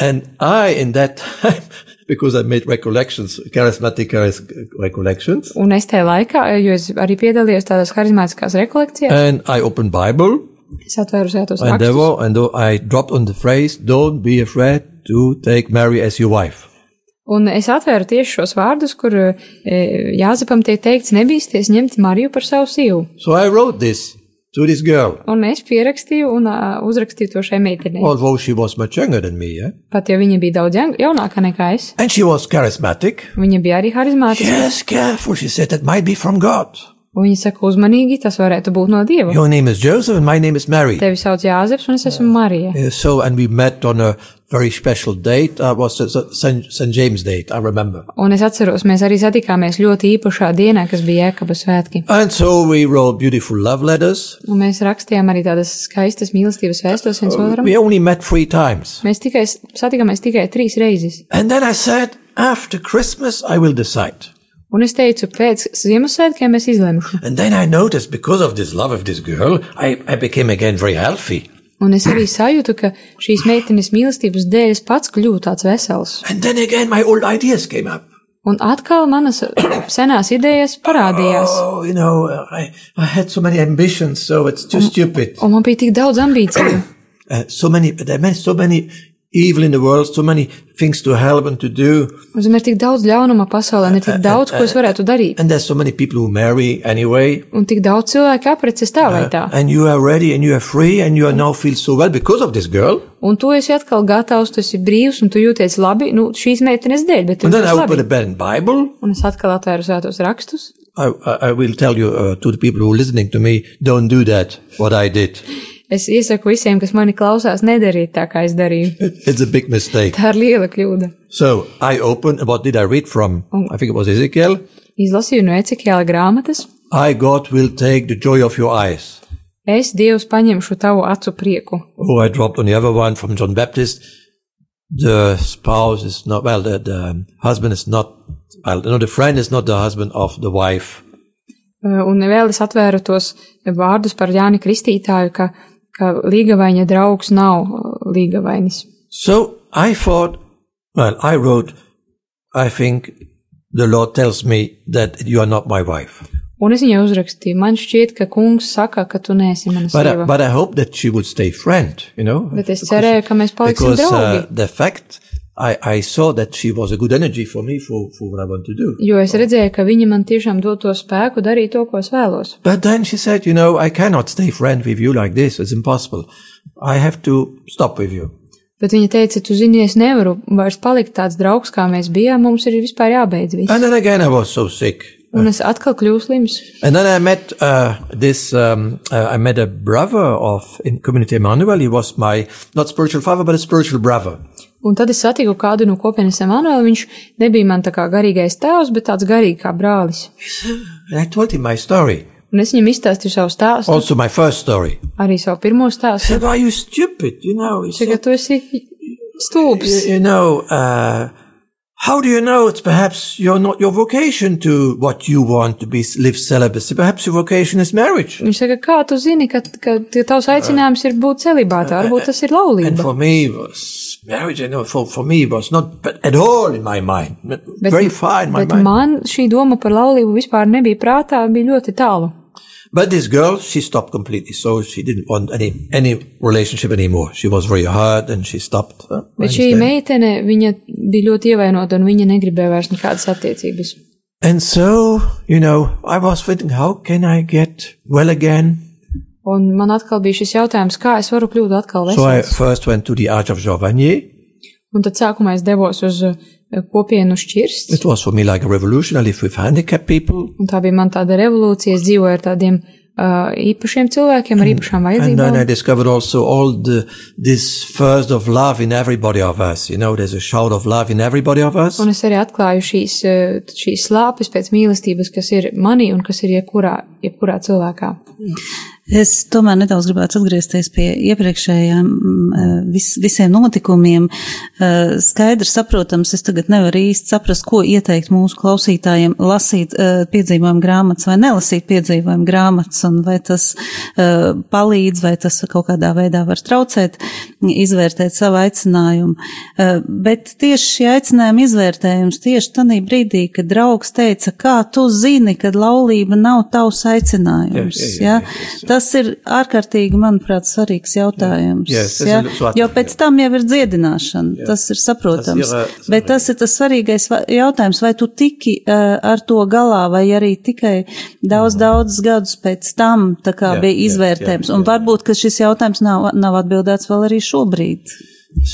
S5: And I, in that time, because I made recollections, charismatic charis- recollections,
S2: Un es tajā laikā, eh, jo es arī piedalījos tādās harizmātiskās rekolekcijās,
S5: and I opened Bible,
S2: es atvēru svētos
S5: and there
S2: rakstus.
S5: were, and though I dropped on the phrase, "Don't be afraid to take Mary as your wife."
S2: Un es atvēru tieši šos vārdus, kur e, Jāzepam tiek teikts, nebīsties ņemt Mariju par savu sīvu.
S5: So I wrote this to this girl.
S2: Un es pierakstīju un uh, uzrakstīju to šai meitenei.
S5: Although she was much younger than me, yeah?
S2: Pat ja viņa bija daudz jaun- jaunāka nekā es,
S5: And she was charismatic.
S2: viņa bija arī harizmātiska.
S5: Yes, careful, she said, that might be from God.
S2: Un Viņa saka, uzmanīgi, tas varētu būt no dieva.
S5: Your name is Joseph and my name is Mary.
S2: Tevi sauc Jāzeps, un es esmu Marija.
S5: Uh, so, and we met on a very special date. Uh, was uh, St. St. James date, I remember.
S2: Un es atceros, mēs arī satikāmies ļoti īpašā dienā, kas bija Jēkabas svētki.
S5: And so we wrote beautiful love letters.
S2: Un Nu, mēs rakstījām arī tādas skaistas mīlestības vēstules viens otram.
S5: We only met three times.
S2: Mēs tikai s- satikāmies tikai trīs reizes.
S5: And then I said, after Christmas, I will decide.
S2: Un es teicu, pēc Ziemassvētkiem es izlemšu.
S5: And then I noticed because of this love of this girl, I, I became again very healthy.
S2: Un es arī sajūtu, ka šīs meitenes mīlestības dēļ es pats kļuvu tāds vesels.
S5: And then again, my old ideas came up.
S2: Un atkal manas senās idejas parādījās.
S5: Oh, you know, uh, I, I had so many ambitions, so it's too stupid.
S2: Un man bija tik daudz ambīciju.
S5: Uh, so many, there are so many evil in the world, so many things to help and to do.
S2: Un zem ir tik daudz ļaunuma pasaulē, un ir tik daudz, ko es varētu darīt.
S5: And there's so many people who marry anyway. Uh,
S2: Un tik daudz cilvēku apreces tā vai tā.
S5: And you are ready and you are free and you are now feel so well because of this girl.
S2: Un tu esi atkal gatavs, tu esi brīvs, un tu jūties labi, nu, šīs meitenes dēļ, bet tu
S5: And then I
S2: jūties
S5: opened a
S2: labi.
S5: Ben Bible.
S2: Un es atkal atvēru svētos rakstus.
S5: I, I, I will tell you uh, to the people who are listening to me, don't do that, what I did.
S2: Es iesaku visiem, kas mani klausās, nedariet tā, kā es darīju.
S5: It's a big mistake.
S2: Tā ir liela kļūda.
S5: So I opened, what did I read from? I think it was Ezekiel.
S2: Izlasīju no Ecekļa grāmatas.
S5: I, God, will take the joy of your eyes.
S2: Es, Dievs, paņemšu tavu acu prieku.
S5: Oh, I dropped on the other one from John Baptist. The spouse is not, well, the, the husband is not, well, no, the friend is not the husband of the wife.
S2: Uh, Un vēl es atvēru tos vārdus par Jāni Kristītāju, ka, ka līgavaina draugs nav uh, līgavainis.
S5: So I thought, well, I wrote, I think the Lord tells me that you are not my wife.
S2: Un es viņai uzrakstīju, man šķiet, ka kungs saka, ka tu neesi mana
S5: But I,
S2: sieva.
S5: but I hope that she would stay friend, you know.
S2: Bet es cerēju, ka mēs paliksim
S5: Because uh,
S2: draugi.
S5: the fact I, I saw that she was a good energy for me for, for what I want to do.
S2: Jo es redzēju, ka viņa man tiešām dod to spēku darīt to, ko es vēlos.
S5: But then she said, you know, I cannot stay friend with you like this. It's impossible. I have to stop with you.
S2: Bet viņa teica, tu zini, es nevaru vairs palikt tāds draugs, kā mēs bijām, mums ir vispār jābeidz viss.
S5: And then again, I was so sick.
S2: Un es atkal kļūstu slims.
S5: And then I met uh, this. Um, uh, I met a brother of in Community Emmanuel. He was my not spiritual father, but a spiritual brother.
S2: Un tad es satiku kādu no kopienas Emanuela. Viņš nebija man tā kā garīgais tēvs, bet tāds garīgi kā brālis.
S5: And I told him my story,
S2: Un es viņam izstāstīju savu stāstu,
S5: also my first story.
S2: arī savu pirmo
S5: He
S2: stāstu.
S5: said, "Are you stupid? You know, he
S2: Tagad
S5: said,
S2: tu esi
S5: you,
S2: stulbs.
S5: you know, uh, how do you know it's perhaps you're not your vocation to what you want to be live celibacy? Perhaps your vocation is marriage."
S2: Viņš saka, kā tu zini, ka, ka ka tavs aicinājums ir būt celibātā, varbūt tas ir
S5: And
S2: laulība.
S5: for me, it was marriage, you know, for, for me, it was not b- at all in my mind. But very far in my
S2: bet
S5: mind.
S2: man šī doma par laulību vispār nebija prātā, bija ļoti tālu.
S5: but this girl, she stopped completely. So she didn't want any, any relationship anymore. She was very hurt and she stopped. uh, I
S2: Bet šī
S5: understand.
S2: meitene, viņa bija ļoti ievainota, un viņa negribēja vairs nekādas attiecības.
S5: and so, you know, I was thinking, how can I get well again?
S2: Un man atkal bija šis jautājums, kā es varu kļūt atkal
S5: So I
S2: vesels.
S5: first went to the Arch of Giovanni.
S2: Un tad sākumā es devos uz uh, kopienu šķirsts,
S5: It was for me like a revolution. I lived with handicapped people.
S2: un tā bija man tāda revolūcija. Es dzīvoju ar tādiem uh, īpašiem cilvēkiem ar īpašām
S5: And then I
S2: vajadzībām.
S5: discovered also all the, this first of love in everybody of us. You know, there's a shout of love in everybody of us.
S2: Un es arī atklāju šīs, uh, šīs slāpes pēc mīlestības, kas ir manī un kas ir jebkurā, jebkurā cilvēkā.
S4: Es tomēr nedaudz gribētu atgriezties pie iepriekšējiem mm, vis, visiem notikumiem. Eh, Skaidrs, saprotams, es tagad nevaru īsti saprast, ko ieteikt mūsu klausītājiem lasīt eh, piedzīvojumu grāmatas vai nelasīt piedzīvojumu grāmatas, un vai tas eh, palīdz, vai tas kaut kādā veidā var traucēt izvērtēt savu aicinājumu. Eh, Bet tieši šī aicinājuma izvērtējums tieši tanī brīdī, kad draugs teica, kā tu zini, kad laulība nav tavs aicinājums.
S5: Jā, jā, jā,
S4: ja?
S5: jā, jā.
S4: Tad Tas ir ārkārtīgi, manuprāt, svarīgs jautājums.
S5: Yes, es
S4: jā,
S5: vēl so
S4: jo
S5: atvainojos.
S4: pēc tam jau ir dziedināšana,
S5: Jā.
S4: tas ir saprotams.
S5: Tas ir, eh,
S4: bet tas ir tas svarīgais va- jautājums, vai tu tiki uh, ar to galā, vai arī tikai daudz, daudz gadus pēc tam tā kā
S5: Mhm. Jā,
S4: bija
S5: jā,
S4: izvērtējums.
S5: jā,
S4: Un
S5: jā.
S4: varbūt, ka šis jautājums nav, nav atbildēts vēl arī šobrīd.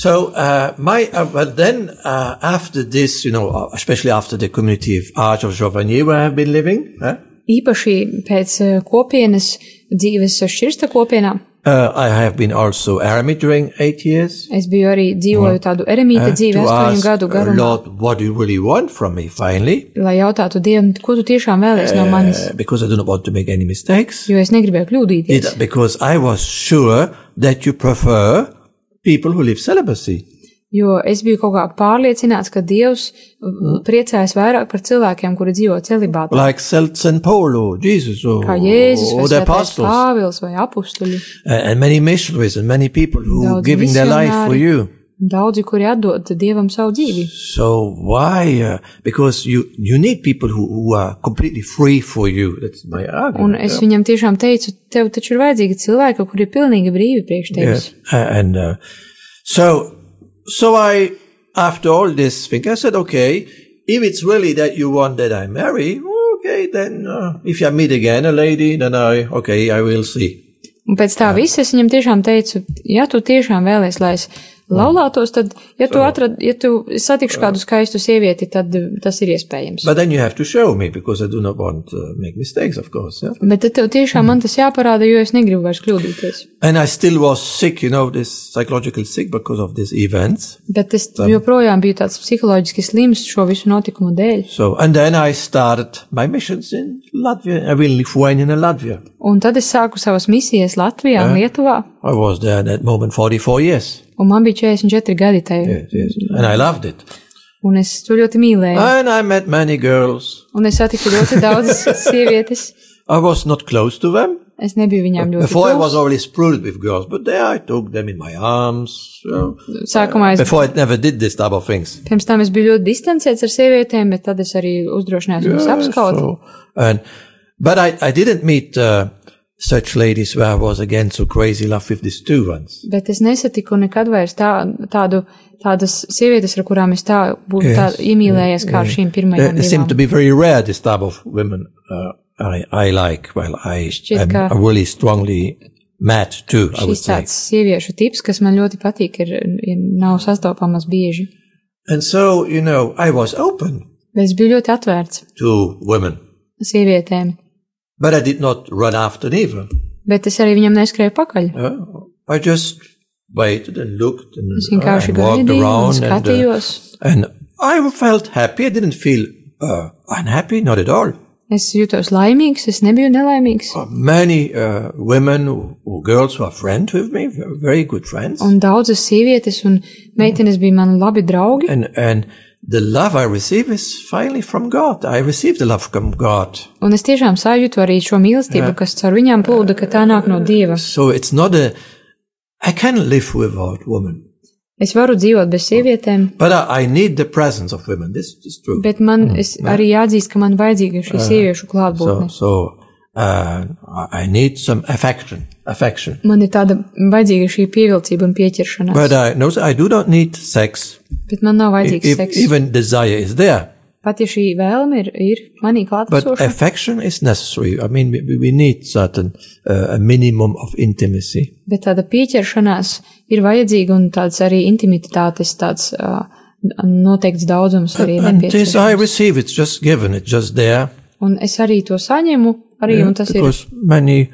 S5: So, uh, my, uh, but then, uh, after this, you know, uh, especially after the community of Arch of Giovanni where I've been living, eh,
S2: Īpaši pēc eh, kopienas dzīves šķirsta kopienā.
S5: uh, I have been also eremit during eight years.
S2: Es biju arī dzīvoju tādu eremīta
S5: eh,
S2: dzīvi
S5: to
S2: astoņu
S5: ask,
S2: gadu
S5: uh,
S2: garumā,
S5: Lord, what do you really want from me finally?
S2: lai jautātu Dievam, ko tu tiešām vēlies no manis,
S5: Uh, because I do not want to make any mistakes.
S2: jo es negribēju kļūdīties.
S5: It- because I was sure that you prefer people who live celibacy.
S2: Jo es biju kaut kā pārliecināts, ka Dievs mm. priecājas vairāk par cilvēkiem, kuri dzīvo celibātā.
S5: Like Saint Saint Paulo, Jesus, or,
S2: Kā Jēzus,
S5: or
S2: vai
S5: the
S2: Svētais
S5: apostles.
S2: Pāvils vai apustuļi.
S5: and many missionaries and many people who
S2: Daudz
S5: giving their life for
S2: misionāri.
S5: you.
S2: Daudzi, kuri atdod Dievam savu dzīvi.
S5: So why? Uh, because you you need people who, who are completely free for you. That's my
S2: Un
S5: argument.
S2: es viņam tiešām teicu, tev taču ir vajadzīgi cilvēki, kuri ir pilnīgi brīvi priekš
S5: Yeah.
S2: tevis.
S5: Uh, and uh, so so I after all this thing I said okay if it's really that you want that I marry okay then uh, if I meet again a lady then I okay I will see.
S2: Un pēc tā visa es viņam tiešām teicu, ja tu tiešām vēlies, lai es laulātos, tad, ja tu, atrad, ja tu satikšu kādu skaistu sievieti, tad eh, tas ir iespējams.
S5: But then you have to show me because I do not want to make mistakes of course. Yeah?
S2: Bet tad tev tiešām man tas jāparāda, jo es negribu vairs kļūdīties.
S5: And I still was sick, you know, this psychological sick because of these events.
S2: Bet es joprojām biju tāds psiholoģiski slims šo visu notikumu dēļ.
S5: So, and then I started my missions in Latvia, I mean, Lithuania and Latvia.
S2: Un tad es sāku savas misijas Latvijā un Lietuvā,
S5: I was there at that moment 44 years.
S2: un man bija 44 gadi tajā.
S5: And I loved it.
S2: Un es to ļoti mīlēju.
S5: And I met many girls.
S2: Un es satiku ļoti daudzas sievietes.
S5: I was not close to them.
S2: Es nebiju viņām ļoti
S5: Before I was
S2: tuvu.
S5: already sprudled with girls, but there I took them in my arms. you know.
S2: Sākumā es
S5: Before I never did this type of things.
S2: Pirms tam es biju ļoti distancēts ar sievietēm, bet tad es arī uzdrošinājos viņus
S5: Yeah,
S2: apskaut.
S5: so- and, but I, I didn't meet uh, such ladies where I was again so crazy love with these two ones.
S2: Bet es nesatiku nekad vairs tā, tādu, tādas sievietes, ar kurām es tā būtu tā iemīlējies kā ar šīm
S5: There
S2: pirmajām.
S5: seem to
S2: divām.
S5: be very rare this type of women uh, I, I like. Well, I
S2: Šķiet,
S5: am
S2: ka-
S5: really strongly matched too, I would
S2: Šis
S5: say.
S2: tāds sieviešu tips, kas man ļoti patīk, ir, ir nav sastopamas bieži.
S5: And so, you know, I was open
S2: Bet es biju ļoti atvērts
S5: to women,
S2: sievietēm,
S5: but I did not run after them either.
S2: bet es arī viņam neskrēju pakaļ.
S5: Uh, I just waited and looked and,
S2: Es
S5: uh,
S2: vienkārši
S5: and walked
S2: gaidīju un
S5: around and, uh,
S2: skatījos.
S5: and I felt happy. I didn't feel uh, unhappy, not at all.
S2: Es jūtos laimīgs, es nebiju nelaimīgs.
S5: Uh, Many uh, women or- or girls who are friends with me, very good friends.
S2: Un daudzas sievietes un meitenes bija mani labi draugi.
S5: and and the love I receive is finally from God. I receive the love from God.
S2: Un es tiešām sajūtu arī šo mīlestību, kas caur viņām plūda, ka tā nāk no dieva.
S5: So it's not a. I can live without women,
S2: Es varu dzīvot bez sievietēm,
S5: but I, I need the presence of women. This is true.
S2: bet man es arī jāatzīst, ka man vajadzīga šī sieviešu
S5: Mm. so
S2: klātbūtne.
S5: so uh, I- I need some affection, affection.
S2: Man ir tāda vajadzīga šī pievilcība un
S5: But
S2: pieķeršanās,
S5: I no, I do not need sex.
S2: bet man nav vajadzīgs
S5: If,
S2: seks.
S5: even desire is there,
S2: Pat ja šī vēlme ir, ir manī
S5: but
S2: klātesoša,
S5: affection is necessary. I mean, we, we need certain uh, a minimum of intimacy.
S2: bet tāda pieķeršanās ir vajadzīga un tāds arī intimitātes tāds uh, noteikts daudzums arī ir
S5: And this I
S2: nepieciešams.
S5: receive. It's just given. It's just there.
S2: Un es arī to saņemu, arī, un tas ir
S5: because many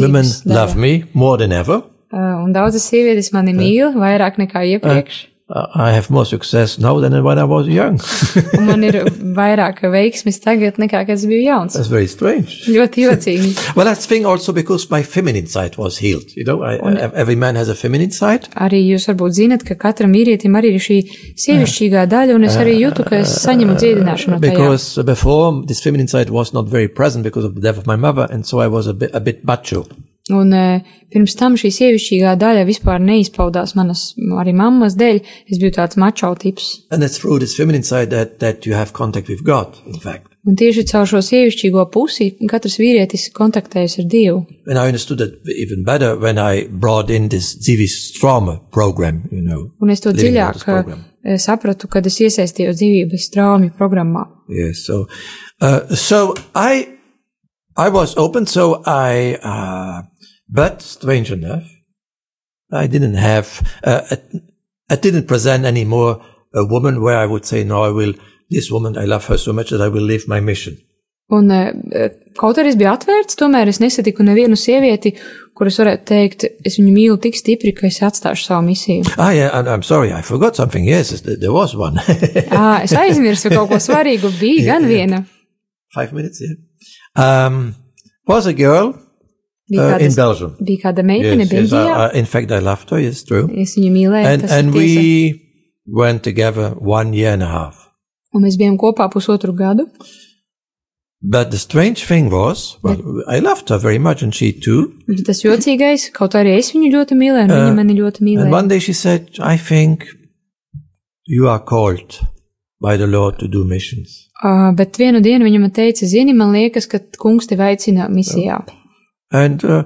S5: women
S2: Dzīves dara.
S5: love me more than ever.
S2: Uh, un daudzas sievietes mani mīl vairāk nekā iepriekš.
S5: Uh, I have more success now than when I was young.
S2: Un man ir vairāk veiksmes tagad nekā kad es biju jauns.
S5: That's very strange.
S2: Ļoti jocīgi.
S5: Well, that's thing also because my feminine side was healed. You know, I, I, every man has a feminine side.
S2: Arī jūs varbūt zinat, ka katram vīrietim arī ir šī sievišķīgā daļa, un es arī jūtu, ka es saņemu dziedināšanu. Tajā.
S5: Because before this feminine side was not very present because of the death of my mother, and so I was a bit a bit macho.
S2: Un eh, pirms tam šī sievišķīgā daļa vispār neizpaudās manas arī mammas dēļ. Es biju tāds mačau tips.
S5: And it's through this feminine side that that you have contact with God. In fact,
S2: Un tieši caur šo sievišķīgo pusi katrs vīrietis kontaktējas ar Dievu.
S5: And I understood that even better when I brought in this Zivis trauma program, you know.
S2: Un es to
S5: living with this
S2: dziļāk eh,
S5: program.
S2: sapratu, kad es iesaistījos dzīvības traumu programmā.
S5: Yes. So, uh, so I, I was open. So I, uh, but strange enough, I didn't have, uh, I, I didn't present anymore a woman where I would say, no, I will, this woman, I love her so much that I will leave my mission.
S2: Un, eh, kaut arī es biju atvērts, tomēr es nesatiku nevienu sievieti, kuras varētu teikt, es viņu mīlu tik stipri, ka es atstāšu savu misiju.
S5: Ah, yeah. I'm, I'm sorry. I forgot something. Yes. th- There was one.
S2: À, es aizmirsu kaut ko svarīgu, bija gan viena.
S5: Five minutes. Yeah. Um, was a girl
S2: Bija
S5: uh, in
S2: kāda,
S5: Belgium.
S2: bija kāda meitene,
S5: Yes, yes, I,
S2: Beļģijā.
S5: I, in fact, I loved her. It's true.
S2: Es viņu mīlēju,
S5: and
S2: tas ir
S5: and
S2: tiesa.
S5: we went together one year and a half.
S2: un mēs bijām kopā pusotru gadu.
S5: But the strange thing was, well, I loved her very much, and she too.
S2: Un Tas jocīgais, kaut arī es viņu ļoti mīlēju, un viņa mani ļoti
S5: Uh, And
S2: mīlēja.
S5: one day she said, "I think you are called by the Lord to do missions."
S2: Uh, bet vienu dienu viņa man teica, zini, man liekas, ka kungs tevi aicina misijā.
S5: And uh,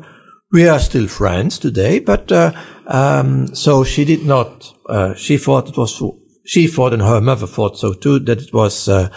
S5: we are still friends today. But uh, um, so she did not. Uh, she thought it was. She thought, and her mother thought so too, that it was uh,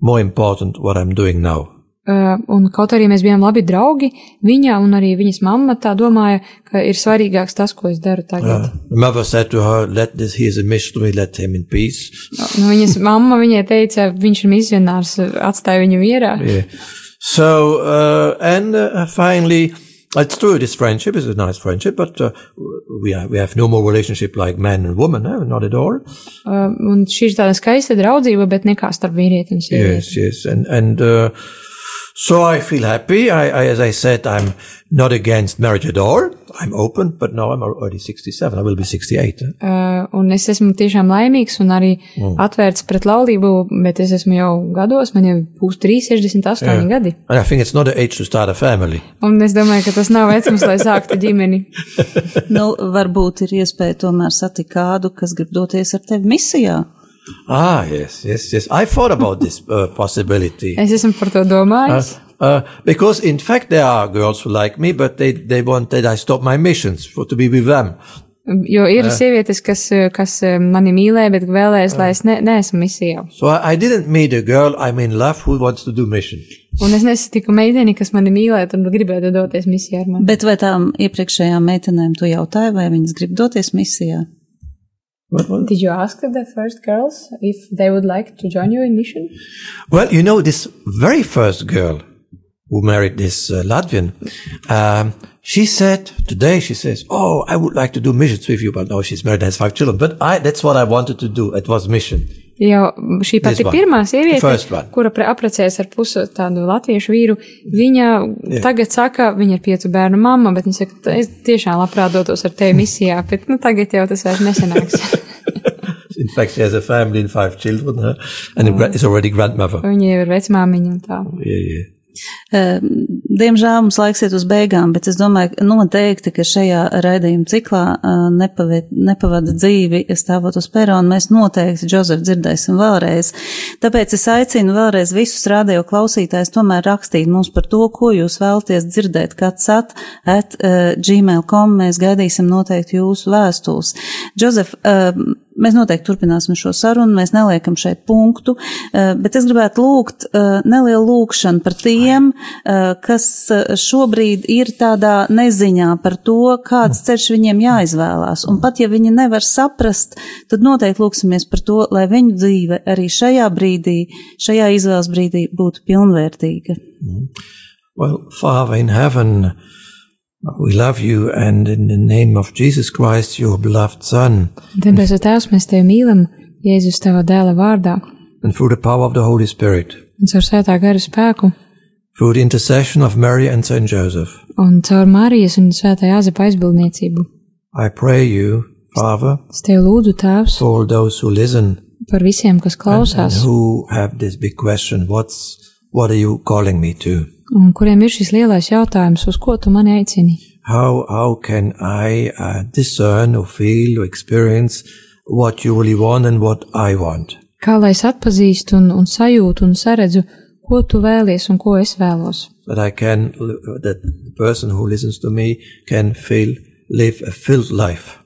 S5: more important what I'm doing now.
S2: Uh, un kaut arī mēs bijām labi draugi, viņa un arī viņas mamma tā domāja, ka ir svarīgāks tas, ko es daru tagad.
S5: The mother said to her, "Let this. He is a missionary. Let him in peace."
S2: Nu, viņas mamma viņai teica, viņš ir misionārs, atstāja viņu mierā.
S5: Yeah. So uh, and uh, finally, it's true. This friendship is a nice friendship, but uh, we are, we have no more relationship like man and woman. eh? Not at all.
S2: Uh, un šī ir tāda skaista draudzība, bet nekā starp vīrieti un sievieti.
S5: Yes, yes, and and uh, so I feel happy. I, I, as I said, I'm not against marriage at all. I'm open, but now I'm already 67. I will be 68. eh?
S2: Uh, un es esmu tiešām laimīgs un arī mm. atvērts pret laulību, bet es esmu jau gados, man jau būs 368 yeah. gadi.
S5: And I think it's not the age to start a family.
S2: Un es domāju, ka tas nav vecums, lai sāktu ģimeni.
S4: Nu, varbūt ir iespēja tomēr satikt kādu, kas grib doties ar tevi misijā.
S5: Ah, yes, yes, yes. I thought about this uh, possibility.
S2: Es esmu par to domājis.
S5: Uh, because in fact there are girls who like me, but they, they want that I stop my missions for to be with them.
S2: Jo ir sievietes, kas, eh, kas eh, mani mīlē, bet vēlēs, lai es ne, neesmu misijā.
S5: So I, I didn't meet a girl I'm in love who wants to do mission.
S2: Un es nesatiku meiteni, kas mani mīlētu un gribētu doties misijā ar mani.
S4: Bet vai tām iepriekšējām meitenēm tu jautāji, vai viņas grib doties misijā?
S2: Did you ask the first girls if they would like to join you in mission?
S5: Well, you know this very first girl who married this uh, Latvian. Um, she said today she says, "Oh, I would like to do missions with you," but now she's married and has five children. But I that's what I wanted to do. It was mission.
S2: Jo šī pati
S5: This one.
S2: pirmā
S5: The first
S2: sieviete,
S5: one.
S2: kura pre- apprecējās ar pusu tādu latviešu vīru, viņa yeah. tagad saka, viņa ir piecu bērnu mamma, bet viņa saka, es tiešām labprāt dotos ar tevi misijā, bet nu, tagad jau tas vairs nesanāks.
S5: In fact, she has a family and five children, huh? and a gra- is already grandmother.
S2: viņa jau ir vecmāmiņa un tā.
S5: Yeah, yeah.
S4: Eh, Diemžēl mums laiks iet uz beigām, bet es domāju, ka noteikti, ka šajā raidījuma ciklā eh, nepaved, nepavada dzīvi stāvot uz perona. Mēs noteikti Džozef dzirdēsim vēlreiz. Tāpēc es aicinu vēlreiz visus radio klausītājus tomēr rakstīt mums par to, ko jūs vēlaties dzirdēt. Kāds at, at uh, gmail.com mēs gaidīsim noteikti jūsu vēstules. Džozef, uh, Mēs noteikti turpināsim šo sarunu, mēs neliekam šeit punktu, eh, bet es gribētu lūgt eh, nelielu lūkšanu par tiem, eh, kas eh, šobrīd ir tādā neziņā par to, kāds ceļš viņiem jāizvēlās. Un pat ja viņi nevar saprast, tad noteikti lūksimies par to, lai viņu dzīve arī šajā brīdī, šajā izvēles brīdī būtu pilnvērtīga.
S5: Well, Father in heaven, we love you, and in the name of Jesus Christ, your beloved Son,
S2: Debesu Tēvs, mēs tevi mīlam, Jēzus tava dēla vārdā,
S5: and through the power of the Holy Spirit,
S2: un caur svētā gara spēku,
S5: through the intercession of Mary and Saint Joseph,
S2: un caur Marijas un svētā Jāzepa aizbildniecību.
S5: I pray you, Father,
S2: Es tevi lūdzu, Tēvs,
S5: for all those who listen
S2: par visiem, kas
S5: and, and
S2: klausās,
S5: who have this big question: What's what are you calling me to?
S2: un kuriem ir šis lielais jautājums, uz ko tu mani aicini.
S5: How how can I uh, discern or feel or experience what you really want and what I want?
S2: Kā lai es atpazīstu un, un sajūtu un saredzu, ko tu vēlies un ko es vēlos.
S5: that I can, that the person who listens to me can feel, live a filled life.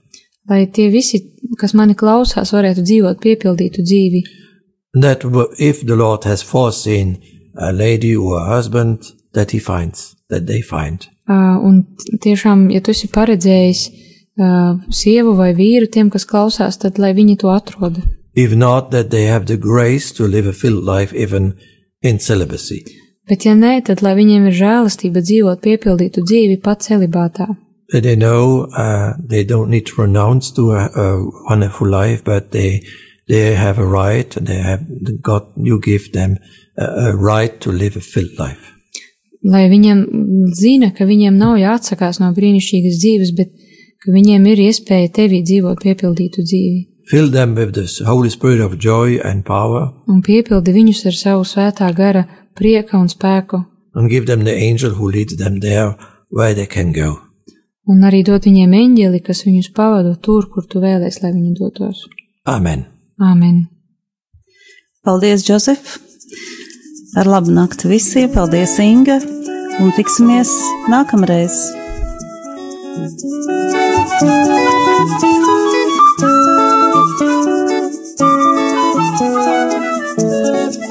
S2: Lai tie visi, kas mani klausās, varētu dzīvot piepildītu dzīvi.
S5: That w- if the Lord has foreseen a lady or a husband that he finds, that they find.
S2: Uh, un t- tiešām, ja tu esi paredzējis uh, sievu vai vīru tiem, kas klausās, tad lai viņi to atrod.
S5: If not, that they have the grace to live a filled life even in celibacy.
S2: Bet ja nē, tad lai viņiem ir žēlastība dzīvot piepildītu dzīvi pat celibātā.
S5: That they know uh, they don't need to renounce to uh, a, a wonderful life, but they they have a right, and they have God. You give them a, a right to live a filled life.
S2: Lai viņiem zina, ka viņiem nav jāatsakās no brīnišķīgas dzīves, bet ka viņiem ir iespēja tevī dzīvot piepildītu dzīvi.
S5: Fill them with the Holy Spirit of joy and power,
S2: Un piepildi viņus ar savu svētā gara prieka un spēku,
S5: and give them the angel who leads them there where they can go.
S2: un arī dod viņiem eņģeli, kas viņus pavado tur, kur tu vēlēsies, lai viņi dotos.
S5: Amen.
S2: Āmen!
S4: Paldies, Jozef! Ar labu nakti visiem! Paldies, Inga! Un tiksimies nākamreiz!
S7: Thank you.